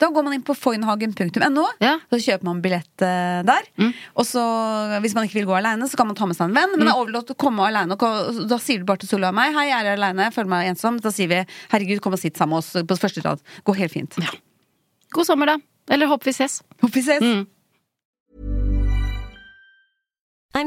Da går man inn på foynhagen.no, Ja. Mm. så kjøper man billett eh, der. Og så, hvis man ikke vil gå aleine, så kan man ta med seg en venn. Men Mm. det er overlatt å komme aleine. Da sier du bare til Solveig og meg 'Hei, jeg er aleine, føler meg ensom'. Da sier vi 'Herregud, kom og sitt sammen med oss på første rad'. Går helt fint. God sommer, da. Eller håper vi ses. Håper vi ses. Mm. I'm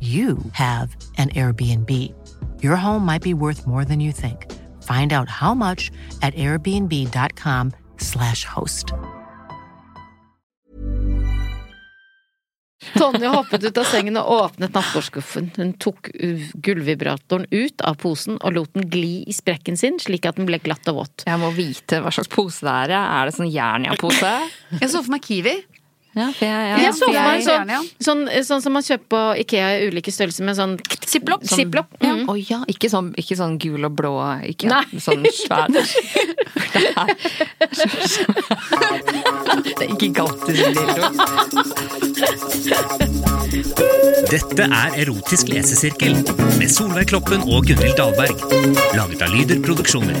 you have an Airbnb. Your home might be worth more than you think. Find out how much at airbnb.com/slash host. Tonje hoppet ut av sengen og åpnet nattbordskuffen. Hun tok uh, gullvibratoren ut av posen og lot den gli i sprekken sin, slik at den ble glatt og våt. Jeg må vite hva slags pose det er. ja. Er det sånn Jernia-pose? Jeg så for meg Kiwi. Ja, for jeg, ja. Jeg så for meg en jeg- sånn, sånn, sånn som man kjøper på Ikea i ulike størrelser, med sånn Ziplock. Sånn- Ziplock. Ja. Mm. Å ja, ikke sånn, ikke sånn gul og blå ikke Nei. sånn svær Det er det er ikke Galtis-dildo. Dette er Erotisk lesesirkel med Solveig Kloppen og Gunhild Dahlberg. Laget av Lyder Produksjoner.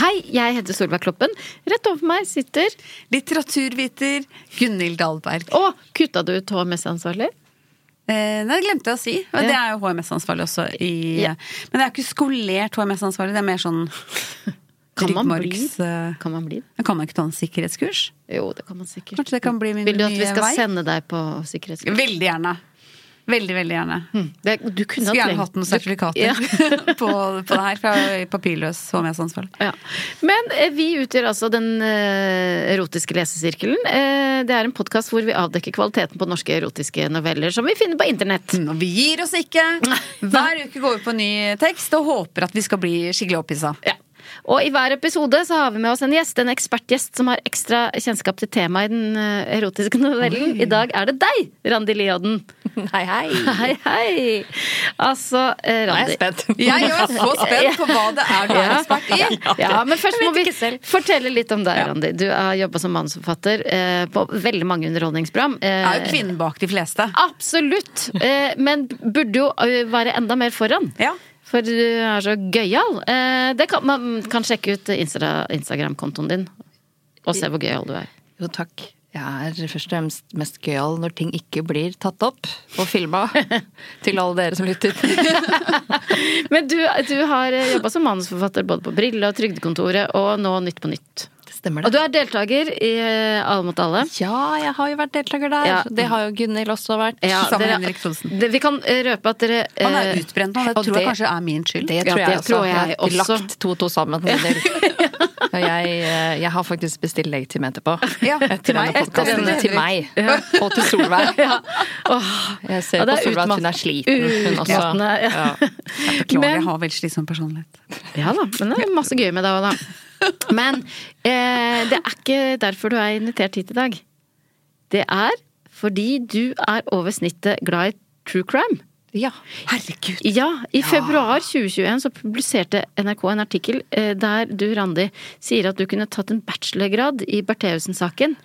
Hei, jeg heter Solveig Kloppen. Rett overfor meg sitter Litteraturviter Gunhild Dahlberg. Å, kutta du ut HMS-ansvarlig? Eh, nei, det glemte jeg å si. Men Det er jo HMS-ansvarlig også. I, Ja. Men det er ikke skolert HMS-ansvarlig, det er mer sånn Kan man bli? ryggmargs... eh, Kan man bli? Kan man ikke ta en sikkerhetskurs? Jo, det kan man sikkert. Kanskje det kan bli min Vil du at vi nye skal vei? sende deg på sikkerhetsskole? Veldig gjerne. Veldig, veldig gjerne. Det, du kunne ha Skulle gjerne trengt- hatt noen du- sertifikater Ja. på, på det her, for jeg er papirløs HMS-ansvarlig. Ja. Men eh, vi utgjør altså den eh, erotiske lesesirkelen. Eh, det er en podkast hvor vi avdekker kvaliteten på norske erotiske noveller som vi finner på internett. Og vi gir oss ikke. Hver uke går vi på ny tekst og håper at vi skal bli skikkelig opphissa. Ja. Og i hver episode så har vi med oss en gjest, en ekspertgjest som har ekstra kjennskap til temaet i den eh, erotiske novellen. I dag er det deg, Randi Lioden. Hei, hei. Hei, hei! Altså, eh, Nå er Randi jeg spent. Jeg er så spent på hva det er du er Ja. ekspert i. Ja, men først Jeg må vet vi ikke selv. fortelle litt om deg, Randi. Du har jobba som manusforfatter eh, på veldig mange underholdningsprogram. Eh, Det er jo kvinnen bak de fleste. Absolutt! Eh, men burde jo eh, være enda mer foran. Ja. For du er så gøyal. Eh, det kan, man kan sjekke ut Insta, Instagram-kontoen din og se hvor gøyal du er. Jo, takk. Jeg er først og fremst mest gøyal når ting ikke blir tatt opp og filma. Til alle dere som lytter. eh, Men du, du har jobba som manusforfatter både på Brille og Trygdekontoret og nå Nytt på Nytt. Stemmer Og det. du er deltaker i eh, Alle mot alle. Ja, jeg har jo vært deltaker der. Ja. Det har jo Gunhild også vært. Ja, Sammen med dere- Henrik Thodesen. det- Vi kan eh, røpe at dere Han eh, er jo utbrent nå, det og tror jeg det- kanskje er min skyld. Det Ja, tror jeg det også. tror jeg har også. lagt to og to sammen. Gunhild. Og jeg, eh, jeg har faktisk bestilt legg til meg etterpå. Ja, til meg. denne podcasten. Etter denne. Til meg. Og til Solveig. Åh, Jeg ser Ja, det på er Solveig at hun utmatt- er sliten. Hun også. utmattende, ja. Beklager, Men- jeg har veldig slitsom personlighet. Ja da, men det er masse gøy med deg òg, da. Men eh, det er ikke derfor du er invitert hit i dag. Det er fordi du er over snittet glad i true crime. Ja. Herregud! Ja, i februar 2021 så publiserte NRK en artikkel eh, der du, Randi, sier at du kunne tatt en bachelorgrad i Bertheussen-saken.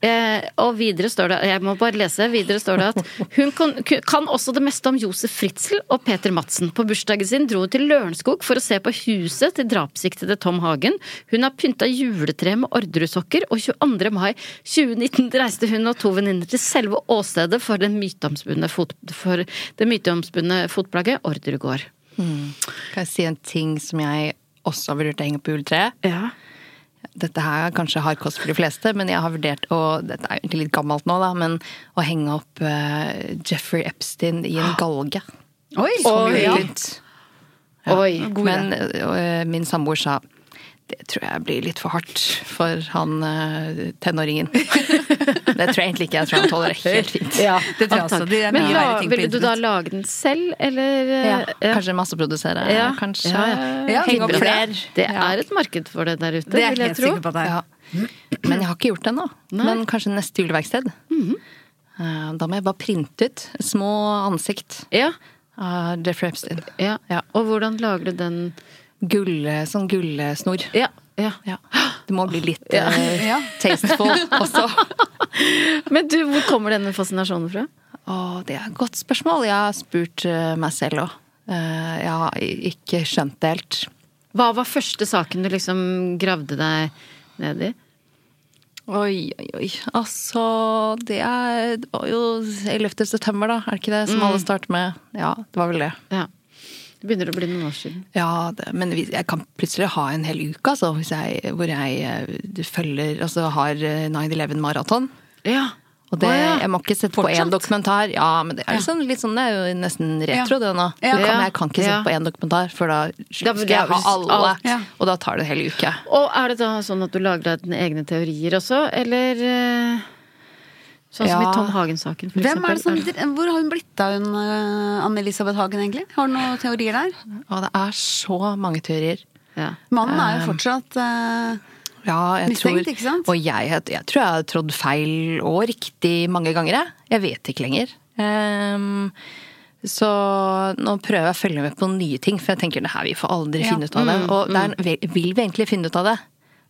Eh, og videre står det Jeg må bare lese. Videre står det at hun kan, kan også det meste om Josef Fritzel og Peter Madsen. På bursdagen sin dro hun til Lørenskog for å se på huset til drapssiktede Tom Hagen. Hun har pynta juletre med Orderud-sokker, og 22. mai 2019 reiste hun og to venninner til selve åstedet for, den myteomspunne fot, for det myteomspunne fotplagget Orderud gård. Kan jeg si en ting som jeg også har vurdert å henge på juletreet? Ja. dette her er kanskje hardkost for de fleste, men jeg har vurdert å Dette er egentlig litt gammelt nå, da, men å henge opp eh, Jeffrey Epstein i en galge. Oi! Oi. ja. Litt. Oi. Men eh, min samboer sa det tror jeg blir litt for hardt for han eh, tenåringen. det tror jeg egentlig ikke. Jeg tror han tåler det helt fint. Det tror jeg også. Det altså, er Men mye la, verre ting på ville du da internett. lage den selv, eller eh, Ja, ja. Kanskje masseprodusere. Ja, Kanskje ja, Ja, henge opp det- flere. Det Ja. er et marked for det der ute, Det er jeg vil jeg helt tro. sikker på at det er. Ja. Men jeg har ikke gjort det ennå. Nei. Mhm. Men kanskje neste juleverksted. Eh, Da må jeg bare printe ut små ansikt Ja, av Jeffrey Epstein. ja. Ja. Og hvordan lager du den Gull, sånn gullsnor. Ja. ja. Ja. Det må bli litt eh, tasteful også. Men du, hvor kommer denne fascinasjonen fra? Å, det er et godt spørsmål. Jeg har spurt eh, meg selv òg. Jeg har ikke skjønt det helt. Hva var første saken du liksom gravde deg ned i? Oi, oi, oi. Altså, det er det var jo 11. september, da. Er det ikke det som alle starter med? Ja, det var vel det. Ja. Det begynner å bli noen år siden. Ja, det, men hvis- jeg kan plutselig ha en hel uke altså, hvis jeg, hvor jeg eh, følger Altså har eh, 9-11-maraton. Ja. Og det, Å, ja. Jeg må ikke sette på én dokumentar. Ja, men det er, sånn, litt sånn, det er jo nesten retro, det nå. Ja. Det kan, Ja. jeg kan ikke sette Ja. på én dokumentar, for da Da skal blir jeg ha det alle. alt. Ja. Og da tar det en hel uke. Og er det da sånn at du lager deg dine egne teorier også, eller eh, Sånn som Ja. i Tom Hagen-saken, for Hvem er det som, eksempel. hvor har hun blitt av, hun eh, Anne-Elisabeth Hagen, egentlig? Har du noen teorier der? Og det er så mange teorier. Ja. Mannen er jo fortsatt eh, Ja, jeg Mistenkt, tror, ikke sant? Og jeg, jeg, tror jeg har trådd feil og riktig mange ganger, jeg. Jeg vet ikke lenger. Ehm, så nå prøver jeg å følge med på nye ting, for jeg tenker det her, vi får aldri Ja. finne ut av det. Og det er, en- vil vi egentlig finne ut av det?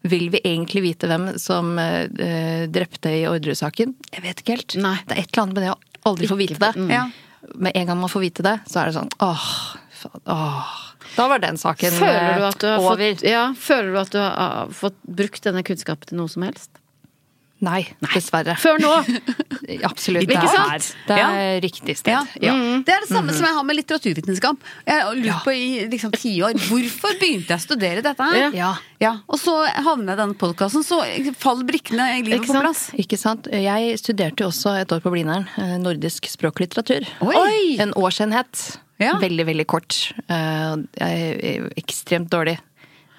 Vil vi egentlig vite hvem som eh, eh, drepte i Orderud-saken? Jeg vet ikke helt. Nei. Det er et eller annet med det å aldri få vite Mm. det. Ja. Med en gang man får vite det, så er det sånn åh, faen, åh. Da var den saken Føler du eh, at du har over. fått, ja, føler du at du har ah, fått brukt denne kunnskapen til noe som helst? Nei, dessverre. Før nå! Absolutt. Ikke det er- sant? Det Ja. er riktig sted. Ja. Mm, Ja. Det er det Mhm. samme som jeg har med litteraturvitenskap. Jeg har lurt på i liksom tiår hvorfor begynte jeg å studere dette her? Ja. Ja, Og så havner jeg i denne podkasten, så faller brikkene i livet Ikke på sant? plass. Ikke sant? Jeg studerte jo også et år på Blindern, eh, nordisk språklitteratur. Oi! Oi! En årsenhet. Ja. Veldig, veldig kort. Eh, Jeg er ekstremt dårlig.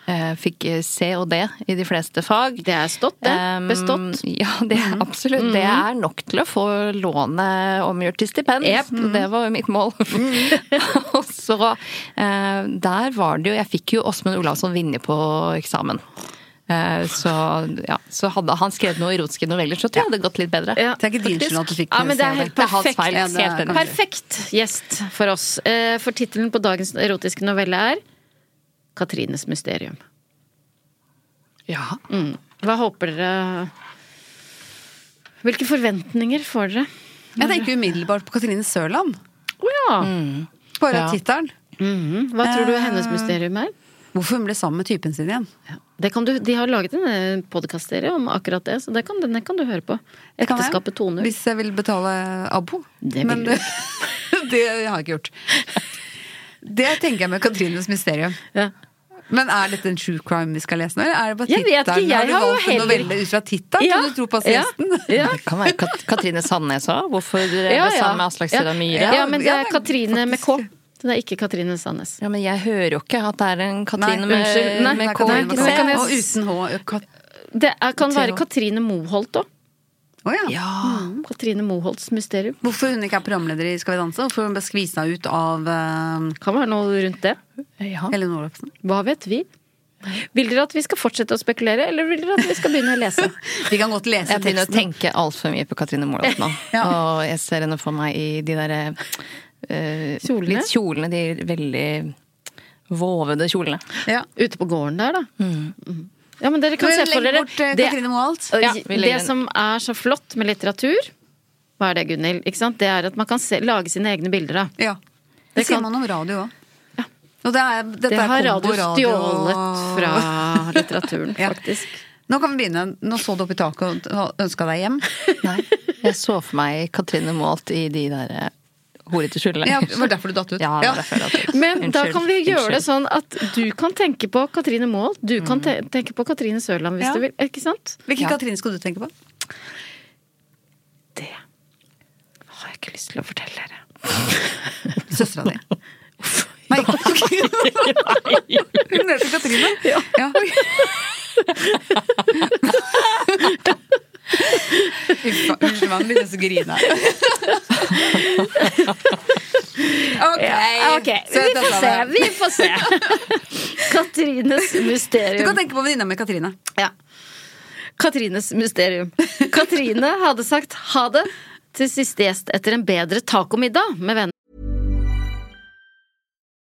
Eh, Fikk eh, C og D i de fleste fag. Det er stått, det. Um, Bestått. Mhm. Ja, det er absolutt. Det er nok til å få lånet omgjort til stipend. Jep. Mhm. Det var jo mitt mål. Og så eh, Der var det jo Jeg fikk jo Åsmund Olavsson Vinje på eksamen. Eh, så, ja, så hadde han skrevet noen erotiske noveller, så tror jeg det hadde gått litt bedre. Ja. Det er ikke din Faktisk. skyld at du fikk Ja, men det er se helt Det er hans perfekt. feil. Ja, det er Helt enig. kanskje- Perfekt gjest for oss. Eh, For tittelen på dagens erotiske novelle er 'Katrines mysterium'. Ja. Hva håper dere Hvilke forventninger får dere? Jeg tenker umiddelbart på Katrine Sørland. Å ja! Bare Ja. tittelen. Mhm. Hva tror du Eh. hennes mysterium er? Hvorfor hun ble sammen med typen sin igjen. Det kan du, de har laget en podkastserie om akkurat det, så det kan, den kan du høre på. Det kan jeg, Ekteskapet 2.0. Hvis jeg vil betale abo. Det vil Men du det, det har jeg ikke gjort. Det tenker jeg med Katrines mysterium. Ja. Men er dette en true crime vi skal lese nå? eller Er det bare Jeg vet ikke, tittelen? jeg du har jo valgt en heller- novelle ut fra tittelen? Ja, Kan du tro på gjesten? Ja. Det kan være Kat Katrine Sandnes òg. Hvorfor drev Ja, jeg ja. sammen med Aslak Sira Myhre? Ja, men det Ja, er men Katrine med K. faktisk. Så det er ikke Katrine Sandnes. Ja, men jeg hører jo ikke at det er en Katrine Nei, med, unnskyld. Nei, med nei, K. nei, nei, ikke sant? kan jeg- Og uten H. Kat- Det er, kan være Theo. Katrine Moholt òg. Å ja. Ja. Katrine Moholts mysterium. Hvorfor hun ikke er programleder i Skal vi danse? Hvorfor hun ble skvisa ut av eh, Kan være noe rundt det. ja. Ellen Olafsen? Hva vet vi? Vil dere at vi skal fortsette å spekulere, eller vil dere at vi skal begynne å lese? Vi kan godt lese Jeg begynner å teksten. tenke altfor mye på Katrine Moholt nå. Ja. Og jeg ser henne for meg i de derre eh, Kjolene? Litt kjolene. De veldig vovede kjolene. Ja. Ute på gården der, da. Mm. Ja, men dere kan se for Legg dere bort eh, det, Katrine Moholt. Ja, vi legger det den. som er så flott med litteratur, hva er det, Gunhild? Ikke sant? Det er at man kan se, lage sine egne bilder av. Ja. Det, Det sier kan- man om radio òg. Og det, er, dette Det er har kombo radio stjålet og- fra litteraturen, Ja. faktisk. Nå kan vi begynne. Nå så du opp i taket og ønska deg hjem. Nei. Jeg så for meg Katrine Moholt i de derre horete kjolene. Ja, det var derfor du datt ut. Ja, det Ja. var derfor jeg datt ut. Men da Unnskyld, kan vi gjøre det unnskyld. sånn at du kan tenke på Katrine Moholt, du kan Mm. te tenke på Katrine Sørland hvis Ja. du vil. Ikke sant? Hvilken Katrine skal du tenke på? Det har jeg ikke lyst til å fortelle dere. Søstera di. Nei, hun heter Katrine. Ja. Uff, Unnskyld meg, nå begynner jeg så å grine. Ok, Ok, søt vi får se. dame. Vi får se. Katrines Du kan mysterium. tenke på venninna mi Katrine. Ja. Katrines mysterium. Katrine hadde sagt ha det til siste gjest etter en bedre tacomiddag med venner.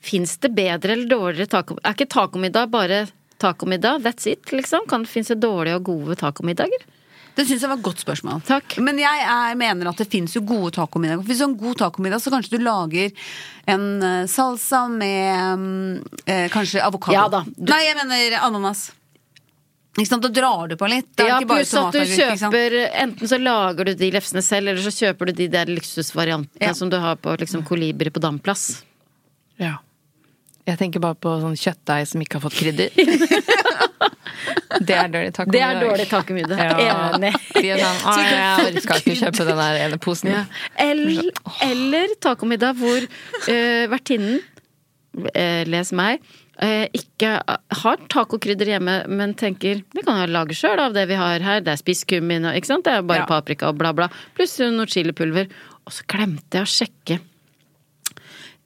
Fins det bedre eller dårligere taco... Er ikke tacomiddag bare tacomiddag? That's it, liksom? Kan Fins det dårlige og gode tacomiddager? Det syns jeg var et godt spørsmål. Takk. Men jeg er, mener at det fins jo gode tacomiddager. Hvis du har en god tacomiddag, så kanskje du lager en eh, salsa med mm, eh, kanskje avokado. Ja da. Du- Nei, jeg mener ananas. Ikke sant? Da drar du på litt. Det er Ja, ikke bare pluss at du tomatagurk, ikke sant? kjøper Enten så lager du de lefsene selv, eller så kjøper du de der luksusvariantene Ja. som du har på liksom, Kolibri på Damplass. Ja. Jeg tenker bare på sånn kjøttdeig som ikke har fått krydder. det er dårlig taco. Det er dårlig tacomiddag. Ja. Enig. De er sånn, «Å, jeg orka ikke kjøpe den der ene posen. Ja. Eller, eller tacomiddag hvor eh, vertinnen, eh, les meg, eh, ikke har tacokrydder hjemme, men tenker det kan jeg lage sjøl av det vi har her. Det er spisskummin og ikke sant? Det er bare Ja. paprika og bla, bla. Pluss noe chilipulver. Og så glemte jeg å sjekke.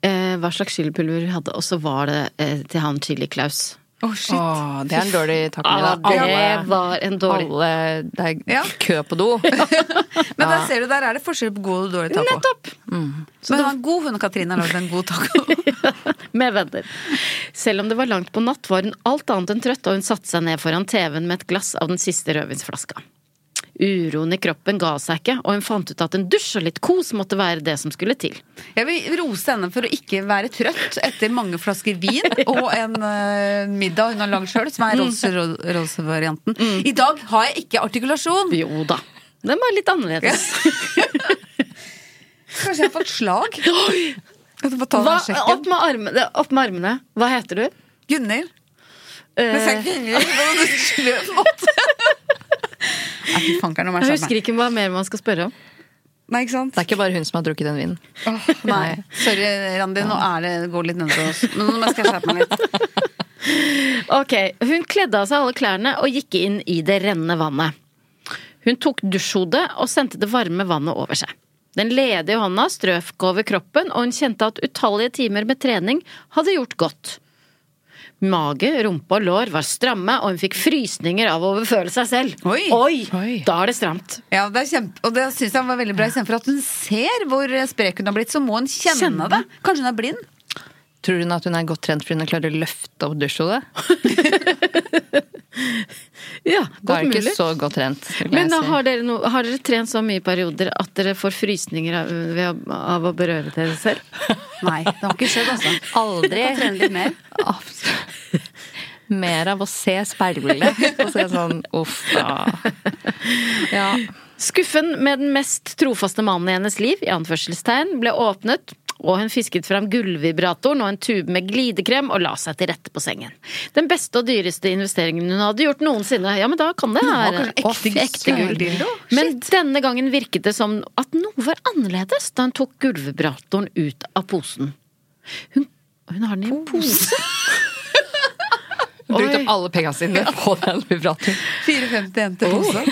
eh, hva slags chilipulver vi hadde, og så var det eh, til han Chili Klaus. Å, shit. Åh, det er en dårlig taco. Ja, Ah, det var en dårlig Ah, alle, Det er Ja. kø på do. Men der ser du, der er det forskjell på god og dårlig taco. Nettopp! Men det var en god hund, Katrine, har lagd en god taco. Med venner. Selv om det var langt på natt, var hun alt annet enn trøtt, og hun satte seg ned foran TV-en med et glass av den siste rødvinsflaska. Uroen i kroppen ga seg ikke, og hun fant ut at en dusj og litt kos måtte være det som skulle til. Jeg vil rose henne for å ikke være trøtt etter mange flasker vin og en eh, middag hun har lagd sjøl, som er Rolls-Royce-varianten. I dag har jeg ikke artikulasjon! Jo da. Den var litt annerledes. Kanskje jeg har fått slag? Jeg får ta Hva, den sjekken. opp, med armene, opp med armene. Hva heter du? Gunnhild. Eh, Jeg sa Gunnhild på en sløv måte. Nei, fy fankeren, nå må jeg jeg skjerpe Eh, husker meg. ikke hva mer man skal spørre om. Nei, ikke sant? Det er ikke bare hun som har drukket den vinen. Åh, nei. Sorry, Randi. Nå er det, går litt nedover oss. Men nå skal jeg skjerpe meg litt. Ok, Hun kledde av seg alle klærne og gikk inn i det rennende vannet. Hun tok dusjhodet og sendte det varme vannet over seg. Den ledige hånda strøk over kroppen, og hun kjente at utallige timer med trening hadde gjort godt. Mage, rumpe og lår var stramme, og hun fikk frysninger av å overføle seg selv. Oi. Oi. Da er det stramt. Ja, det er kjempe, og det syns jeg var veldig bra. Istedenfor at hun ser hvor eh, sprek hun har blitt, så må hun kjenne, Kjenne. det. Kanskje hun er blind? Tror hun at hun er godt trent fordi hun klarer å løfte opp dusjhodet? Ja, Da godt er hun mulig. ikke så godt trent. vil jeg Men da si. har, dere no, har dere trent så mye i perioder at dere får frysninger av, ved å- av å berøre dere selv? Nei, det har ikke skjedd, altså. Aldri Kan trene litt mer. Absolutt. Mer av å se speilet og se sånn uff da. Ja. Skuffen med den mest trofaste mannen i hennes liv, i anførselstegn, ble åpnet, og hun fisket fram gullvibratoren og en tube med glidekrem og la seg til rette på sengen. Den beste og dyreste investeringen hun hadde gjort noensinne. Ja, men da kan det være kanskje ekte Å, fy, ekte gull. sørdildo? Men denne gangen virket det som at noe var annerledes da hun tok gullvibratoren ut av posen. Hun, hun har den i en pose. Brukte Oi. opp alle pengene sine på den vibratoren. 4,50 jenter pose.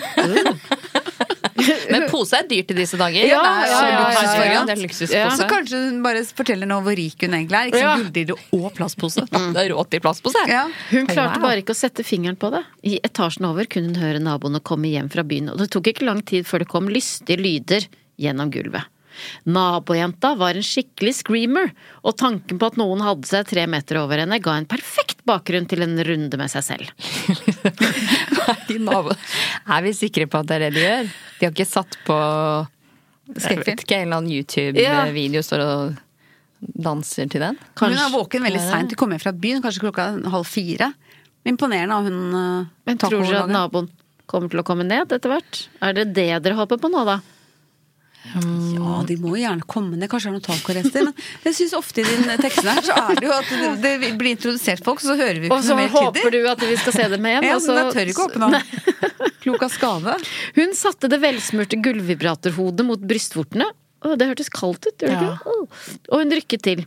Men pose er dyrt i disse dager. Ja, det ja, er så ja, luksusvariant. ja, ja. Det Ja. Så er luksuspose. kanskje hun bare forteller nå hvor rik hun egentlig er. Ikke Ja. sånn gulldildo og plastpose. Mm. Det er råd til plastpose. Ja. Hun klarte Wow. bare ikke å sette fingeren på det. I etasjen over kunne hun høre naboene komme hjem fra byen, og det tok ikke lang tid før det kom lystige lyder gjennom gulvet. Nabojenta var en skikkelig screamer, og tanken på at noen hadde seg tre meter over henne, ga en perfekt bakgrunn til en runde med seg selv. Nei, nabo. Er vi sikre på at det er det de gjør? De har ikke satt på jeg vet ikke, en eller annen YouTube-video står og danser til den? Hun er våken veldig seint. Hun kom hjem fra byen kanskje klokka halv fire. Imponerende av hun eh, Men tar tror dere over at dagen. naboen kommer til å komme ned etter hvert? Er det det dere håper på nå, da? Ja, de må jo gjerne komme ned. Kanskje det er noen tacorester. Men jeg syns ofte i dine tekstene her så er det jo at det, det blir introdusert folk, så hører vi ikke Og så noe mer håper krydder. du at vi skal se dem hjem, Ja, og så men jeg tør ikke åpne den. Klok av skade. Hun satte det velsmurte gullvibratorhodet mot brystvortene. Å, det hørtes kaldt ut, gjør det ikke? Å. Og hun rykket til.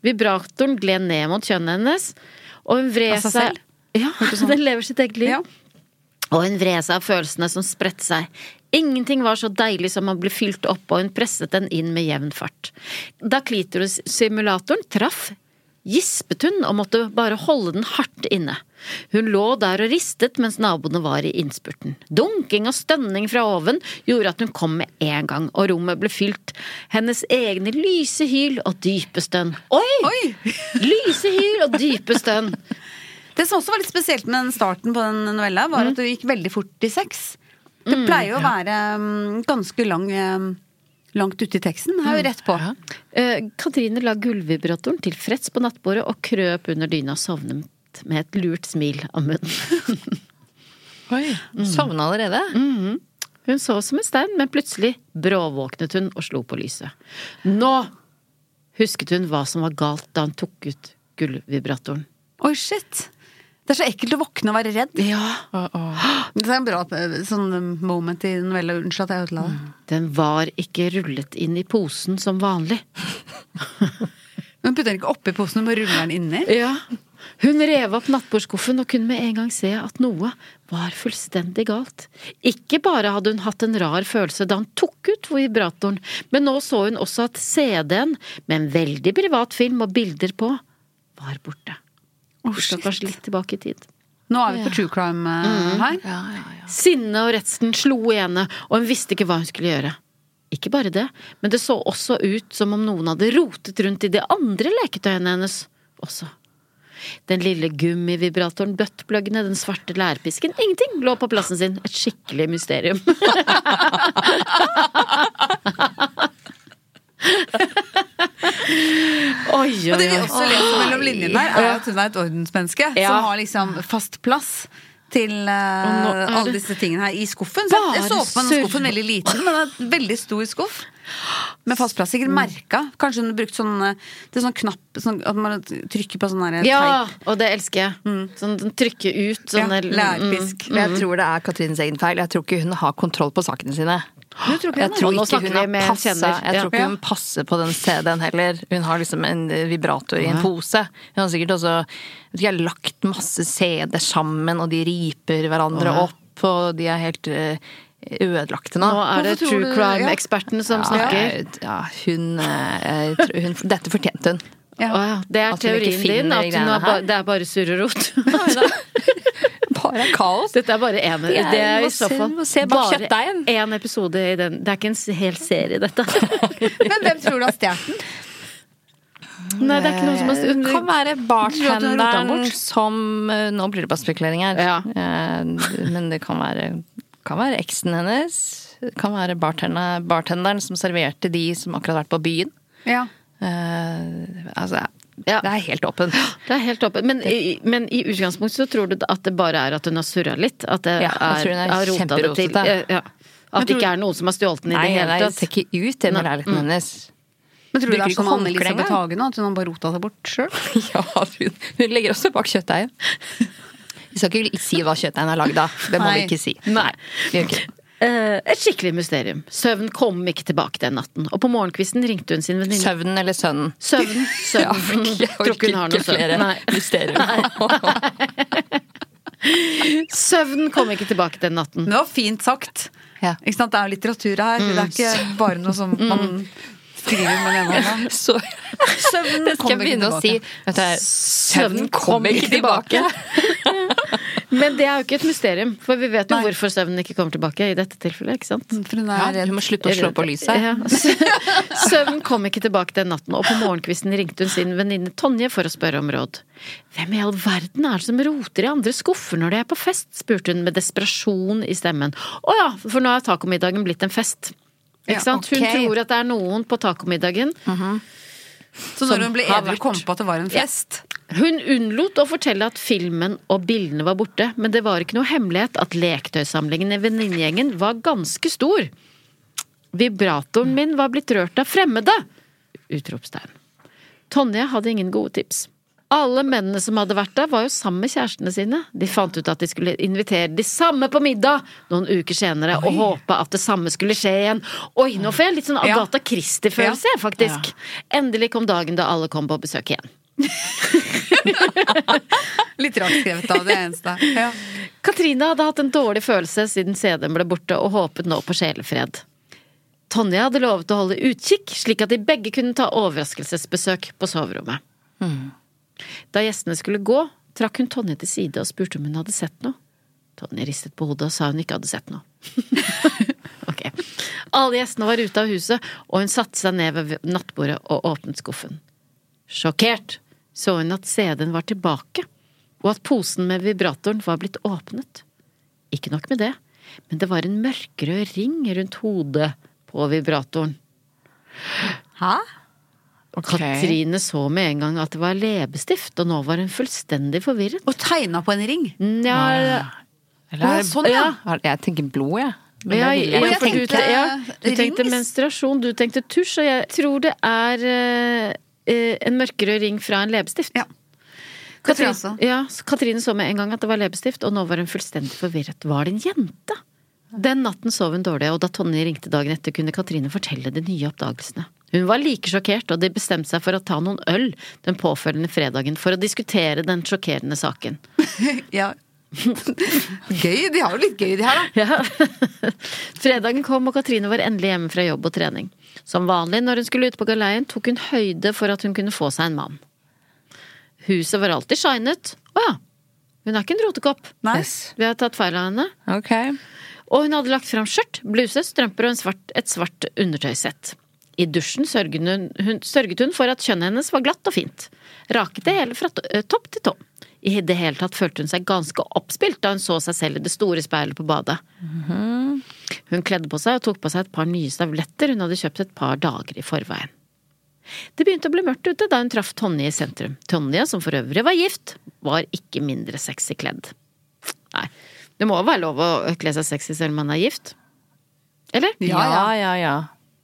Vibratoren gled ned mot kjønnet hennes, og hun vred Av seg selv? seg Ja, den lever sitt eget liv. Ja. Og hun vred seg av følelsene som spredte seg. Ingenting var så deilig som å bli fylt opp, og hun presset den inn med jevn fart. Da klitorissimulatoren traff, gispet hun og måtte bare holde den hardt inne. Hun lå der og ristet mens naboene var i innspurten. Dunking og stønning fra oven gjorde at hun kom med en gang, og rommet ble fylt. Hennes egne lyse hyl og dype stønn. Oi! Oi! Lyse hyl og dype stønn. Det som også var litt spesielt med den starten på den novella, var at det gikk veldig fort i sex. Det pleier jo å være mm, ganske lang, eh, langt ute i teksten, men her er jo rett på. Eh, Katrine la gullvibratoren tilfreds på nattbordet og krøp under dyna og sovnet med et lurt smil av munnen. Oi, Mm. Sovna allerede? Hun så som en stein, men plutselig bråvåknet hun og slo på lyset. Nå husket hun hva som var galt da hun tok ut gullvibratoren. Oi, shit! Det er så ekkelt å våkne og være redd. Det er en bra eh, sånn moment i novella. Unnskyld at jeg ødela det. Den var ikke rullet inn i posen som vanlig. Men putter den ikke oppi posen, du må rulle den inni. Ja. Hun rev opp nattbordskuffen og kunne med en gang se at noe var fullstendig galt. Ikke bare hadde hun hatt en rar følelse da hun tok ut vibratoren, men nå så hun også at CD-en med en veldig privat film og bilder på var borte. Å, Vi skal shit. kanskje litt tilbake i tid. Nå er vi på true crime eh, her. Sinnet og redselen slo i henne, og hun visste ikke hva hun skulle gjøre. Ikke bare det, men det så også ut som om noen hadde rotet rundt i de andre leketøyene hennes også. Den lille gummivibratoren, buttpluggene, den svarte lærpisken, ingenting lå på plassen sin. Et skikkelig mysterium. oi, oi, Og det vi oi. også leser mellom linjene her, er at hun er et ordensmenneske som har liksom fast plass til eh, nå er det alle disse tingene her i skuffen. Så jeg- jeg så bare på den skuffen surr. veldig liten, men det er en veldig stor skuff. Med fast plass, sikkert merka. Kanskje hun har brukt sånn eh, Det er sånn knapp sånn, at man trykker på sånn her Ja, teip. og det elsker jeg. Sånn den trykker ut. Sånn Ja, der- lærpisk. mm, Men jeg tror det er Katrines egen feil. Jeg tror ikke hun har kontroll på sakene sine. Du tror ikke Jeg det? tror Og nå ikke snakker hun vi har med en passa, kjenner. jeg Ja. tror ikke hun passer på den CD-en heller. Hun har liksom en vibrator i en pose. Hun har sikkert også jeg vet ikke, lagt masse CD-er sammen, og de riper hverandre opp, og de er helt eh, ødelagte nå. Nå er det Hvorfor tror true du- crime-eksperten som snakker. jeg- ja, hun, eh, jeg tror hun Dette fortjente hun. Ja. Å ja, det er At hun ikke teorien din, finner at hun greiene har ba, her. det er bare surr og rot. Bare kaos. Dette er bare én Det er- Det er må i så se- fall må se bak bare kjøttdeigen. én episode i den. Det er ikke en s- hel serie, dette. Men hvem tror du har stjålet den? Nei, det er ikke noe som har Det Altså, kan være Tror at hun roter den bartenderen bort. som eh, Nå blir det bare spekulering her. Ja. Eh, Men det kan være, kan være eksen hennes. Det kan være bartenderen, bartenderen som serverte de som akkurat har vært på byen. Ja. Eh, altså, Ja. det er helt åpent. Det er helt åpent. Men, i- men i utgangspunktet så tror du at det bare er at hun har surra litt? At det Ja, jeg er, tror hun er har rota det til? eh, kjemperotete. Ja. At det ikke er noen som har stjålet den i Nei, det hele nei, det tatt? ser ikke ut det med leiligheten hennes. Men tror du det Bruker er ikke som håndkle Anne-Elisabeth engang. Hagen, at hun har bare rota det bort sjøl? Ja, hun, hun legger også bak kjøttdeigen. Vi skal ikke si hva kjøttdeigen er lagd av. Det må Nei. vi ikke si. Nei. Vi gjør ikke det. Eh, Et skikkelig mysterium. Søvn kom ikke tilbake den natten. Og på morgenkvisten ringte hun sin venninne. Søvnen eller sønnen? Søvn. Søvn. Ja, for Mm, jeg tror ikke orker hun har ikke noe søvn. flere Nei. mysterier. Søvn kom ikke tilbake den natten. Men det var fint sagt. Ja. Ikke sant? Det er jo litteratur her. Det er ikke bare noe som man skriver med den ene hånda. Så Mm. Søvnen det skal jeg kommer ikke begynne å si. tilbake. Vet du, søvnen kommer ikke tilbake. Men det er jo ikke et mysterium, for vi vet jo hvorfor søvnen ikke kommer tilbake i dette tilfellet, ikke sant? For hun Ja, er du redd. må slutte å slå på lyset. Ja. Søvnen kom ikke tilbake den natten, og på morgenkvisten ringte hun sin venninne Tonje for å spørre om råd. Hvem i all verden er det som roter i andre skuffer når de er på fest? spurte hun med desperasjon i stemmen. Å ja, for nå er tacomiddagen blitt en fest. Ikke sant? Hun ok. tror at det er noen på tacomiddagen. Så når hun ble har edru, vært. kom på at det var en fest. Hun unnlot å fortelle at filmen og bildene var borte, men det var ikke noe hemmelighet at leketøysamlingen i venninnegjengen var ganske stor. Vibratoren min var blitt rørt av fremmede! Utropstegn. Tonje hadde ingen gode tips. Alle mennene som hadde vært der, var jo sammen med kjærestene sine. De fant ut at de skulle invitere de samme på middag noen uker senere, og håpe at det samme skulle skje igjen. Oi, nå får jeg litt sånn Ja. Agatha Christie-følelse, faktisk. Endelig kom dagen da alle kom på besøk igjen. Litt rart skrevet, da. Det er eneste. Ja. Katrine hadde hatt en dårlig følelse siden CD-en ble borte, og håpet nå på sjelefred. Tonje hadde lovet å holde utkikk, slik at de begge kunne ta overraskelsesbesøk på soverommet. Da gjestene skulle gå, trakk hun Tonje til side og spurte om hun hadde sett noe. Tonje ristet på hodet og sa hun ikke hadde sett noe. ok. Alle gjestene var ute av huset, og hun satte seg ned ved nattbordet og åpnet skuffen. Sjokkert så hun at CD-en var tilbake, og at posen med vibratoren var blitt åpnet. Ikke nok med det, men det var en mørkerød ring rundt hodet på vibratoren. Hæ? Katrine så med en gang at det var leppestift, og nå var hun fullstendig forvirret. Og tegna på en ring. Nja, Eller er det- Å, sånn, ja. Er- Jeg tenker blod, jeg. Men ja, det vil jeg ja, jeg for du, tenkte te- ja, du tenkte rings. menstruasjon, du tenkte tusj, og jeg tror det er eh, eh, en mørkerød ring fra en leppestift. Ja. Det tror jeg også. Katrin, ja, så Katrine så med en gang at det var leppestift, og nå var hun fullstendig forvirret. Var det en jente? Den natten sov hun dårlig, og da Tonje ringte dagen etter, kunne Katrine fortelle de nye oppdagelsene. Hun var like sjokkert, og de bestemte seg for å ta noen øl den påfølgende fredagen for å diskutere den sjokkerende saken. Ja. Gøy. De har jo litt gøy, de her, da. Ja. Fredagen kom, og Katrine var endelig hjemme fra jobb og trening. Som vanlig når hun skulle ut på galeien, tok hun høyde for at hun kunne få seg en mann. Huset var alltid shinet. Å ja, hun er ikke en rotekopp. Nice. Vi har tatt feil av henne. Ok. Og hun hadde lagt fram skjørt, bluse, strømper og en svart, et svart undertøysett. I dusjen sørget hun, hun, sørget hun for at kjønnet hennes var glatt og fint. Raket det hele fra to, eh, topp til tå. I det hele tatt følte hun seg ganske oppspilt da hun så seg selv i det store speilet på badet. Hun kledde på seg og tok på seg et par nye stavletter hun hadde kjøpt et par dager i forveien. Det begynte å bli mørkt ute da hun traff Tonje i sentrum. Tonje, som for øvrig var gift, var ikke mindre sexy kledd. Nei. Det må jo være lov å kle seg sexy selv om man er gift? Eller? Ja, ja, ja.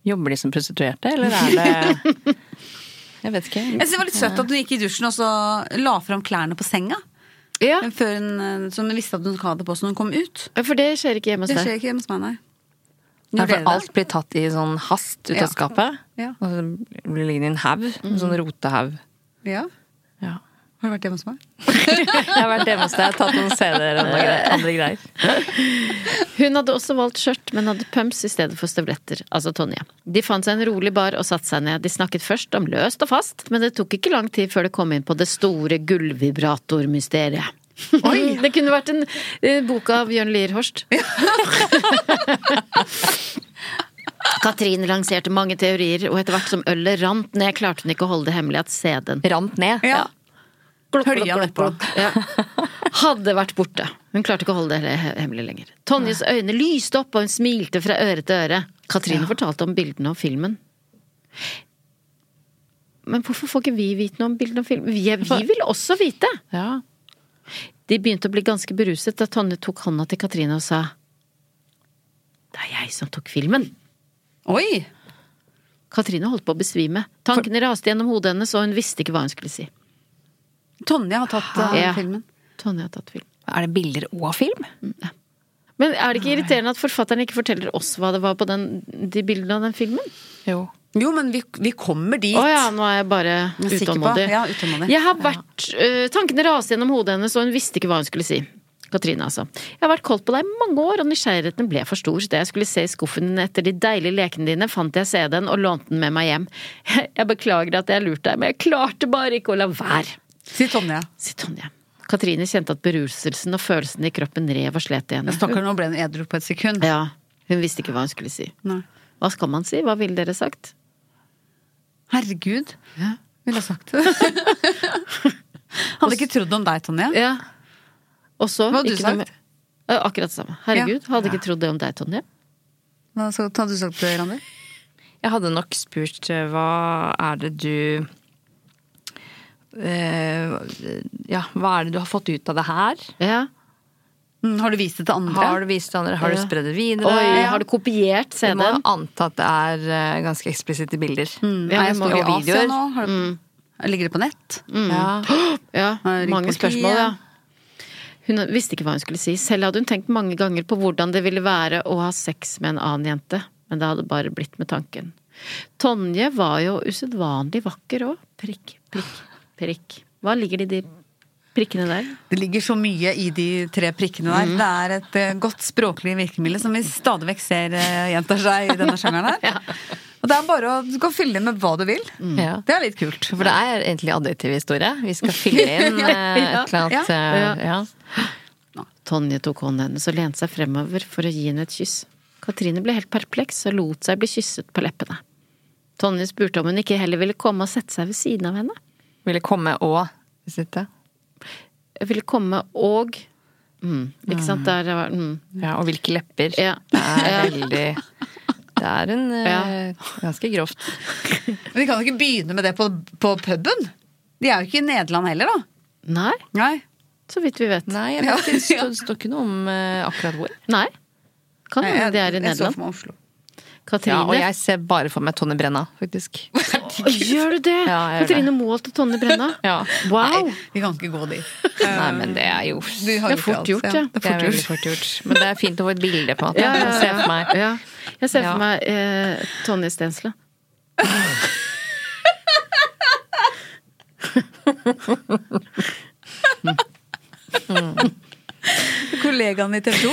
Jobber de som prostituerte, eller er det Jeg vet Jeg ikke. synes Det var litt søtt at hun gikk i dusjen og så la fram klærne på senga. Ja, Før hun, eh, så hun visste at hun skulle ha det på så når hun kom ut. For det skjer ikke hjemme hos Det deg. skjer ikke hjemme hos meg, nei. Nei, Gjorde dere for det? alt blir tatt i sånn hast ut Ja. av skapet. Ja. Og så blir det liggende i en haug. En sånn rotehaug. Ja. Ja. Har du vært hjemme hos meg? Jeg har vært hjemme hos deg og tatt noen CD-er og noe greier- andre greier. Hun hadde også valgt skjørt, men hadde pumps i stedet for støvletter. Altså Tonje. De fant seg en rolig bar og satte seg ned. De snakket først om løst og fast, men det tok ikke lang tid før det kom inn på det store gullvibratormysteriet. det kunne vært en eh, bok av Bjørn Lier Horst. Katrin lanserte mange teorier, og etter hvert som ølet rant ned, klarte hun ikke å holde det hemmelig at CD-en Rant ned. Ja. Glukk, Hølja glukk, nedpå. glukk, glukk. Ja. Hadde vært borte. Hun klarte ikke å holde det he- hemmelig lenger. Tonjes øyne lyste opp, og hun smilte fra øre til øre. Katrine fortalte om bildene og filmen. Men hvorfor får ikke vi vite noe om bildene og filmen? Vi, vi vil også vite! Ja. De begynte å bli ganske beruset da Tonje tok hånda til Katrine og sa Det er jeg som tok filmen! Oi! Katrine holdt på å besvime. Tankene raste gjennom hodet hennes, og hun visste ikke hva hun skulle si. Tonje har tatt Ah. eh, Ja. filmen. Tonje har tatt film. Er det bilder og film? Men er det ikke irriterende at forfatteren ikke forteller oss hva det var på den, de bildene av den filmen? Jo. Jo, men vi, vi kommer dit. Å ja, nå er jeg bare Jeg er sikker på- utålmodig. ja, utålmodig. Jeg har vært øh, Tankene raste gjennom hodet hennes, og hun visste ikke hva hun skulle si. Katrine, altså. Jeg har vært koldt på deg i mange år, og nysgjerrigheten ble for stor. Da jeg skulle se i skuffen din etter de deilige lekene dine, fant jeg CD-en og lånte den med meg hjem. Jeg beklager at jeg lurte deg, men jeg klarte bare ikke å la være. Sier Tonje. Sier Tonje. Katrine kjente at beruselsen og følelsen i kroppen rev og slet i henne. Stakkar, nå ble hun edru på et sekund. Ja, hun visste ikke hva hun skulle si. Nei. Hva skal man si? Hva ville dere sagt? Herregud. Ville ha sagt det. Hadde ikke trodd om deg, Tonje. Ja. Og så Hva hadde du ikke noe sagt? mer- Eh, Akkurat det samme. Herregud, hadde ikke trodd det om deg, Tonje. Hva så- hadde du sagt, Randi? Jeg hadde nok spurt eh, hva er det du eh, Ja, hva er det du har fått ut av det her? Ja. Mm, har du vist det til andre? Har du vist det andre? Har du Ja. spredd det videre? Oi, har du kopiert Vi må jo CD-en? anta at det er eh, ganske eksplisitte bilder. Ja, vi Nei, Mm, jeg må står i jo- Asia nå. Har du... Ligger det på nett? Ja. Ja, Har du ringt mange politiet? spørsmål, ja. Hun visste ikke hva hun skulle si. Selv hadde hun tenkt mange ganger på hvordan det ville være å ha sex med en annen jente, men det hadde bare blitt med tanken. Tonje var jo usedvanlig vakker òg. Prikk, prikk, prikk. Hva ligger det i de prikkene der? Det ligger så mye i de tre prikkene der. Det er et eh, godt språklig virkemiddel som vi stadig vekk ser eh, gjentar seg i denne sjangeren her. Og det er bare å Du kan fylle inn med hva du vil. Ja. Det er litt kult. Mm. For det er egentlig adjektivhistorie. Vi skal fylle inn eh, et eller annet. eh, Ja. Tonje tok hånden hennes og lente seg fremover for å gi henne et kyss. Katrine ble helt perpleks og lot seg bli kysset på leppene. Tonje spurte om hun ikke heller ville komme og sette seg ved siden av henne. Ville komme og sitte. Jeg ville komme og mm, Ikke sant? Der var mm. Ja, og hvilke lepper. Ja. Det er veldig Det er en eh, ganske grovt. Men de kan jo ikke begynne med det på, på puben. De er jo ikke i Nederland heller, da. Nei, Nei. så vidt vi vet. Nei, jeg vet ikke, det står- det står ikke noe om eh, akkurat hvor. Nei. Kan Nei, hende jeg- de er i Jeg så Nederland. for meg Oslo. Katrine Ja, og jeg ser bare for meg Tonje Brenna, faktisk. Å, Gjør du det?! Ja, jeg gjør Katrine Moholt og Tonje Brenna. Ja. Wow! Vi kan ikke gå dit. Nei, men det er jo Det Vi har Det er fort alt, gjort, ja. Det er er fort veldig gjort. fort gjort. Men det er fint å få et bilde, på en måte. Ja, ja, Se for meg. Ja. Jeg ser Ja. for meg eh, Tonje Stensle. Kollegaen i TV 2.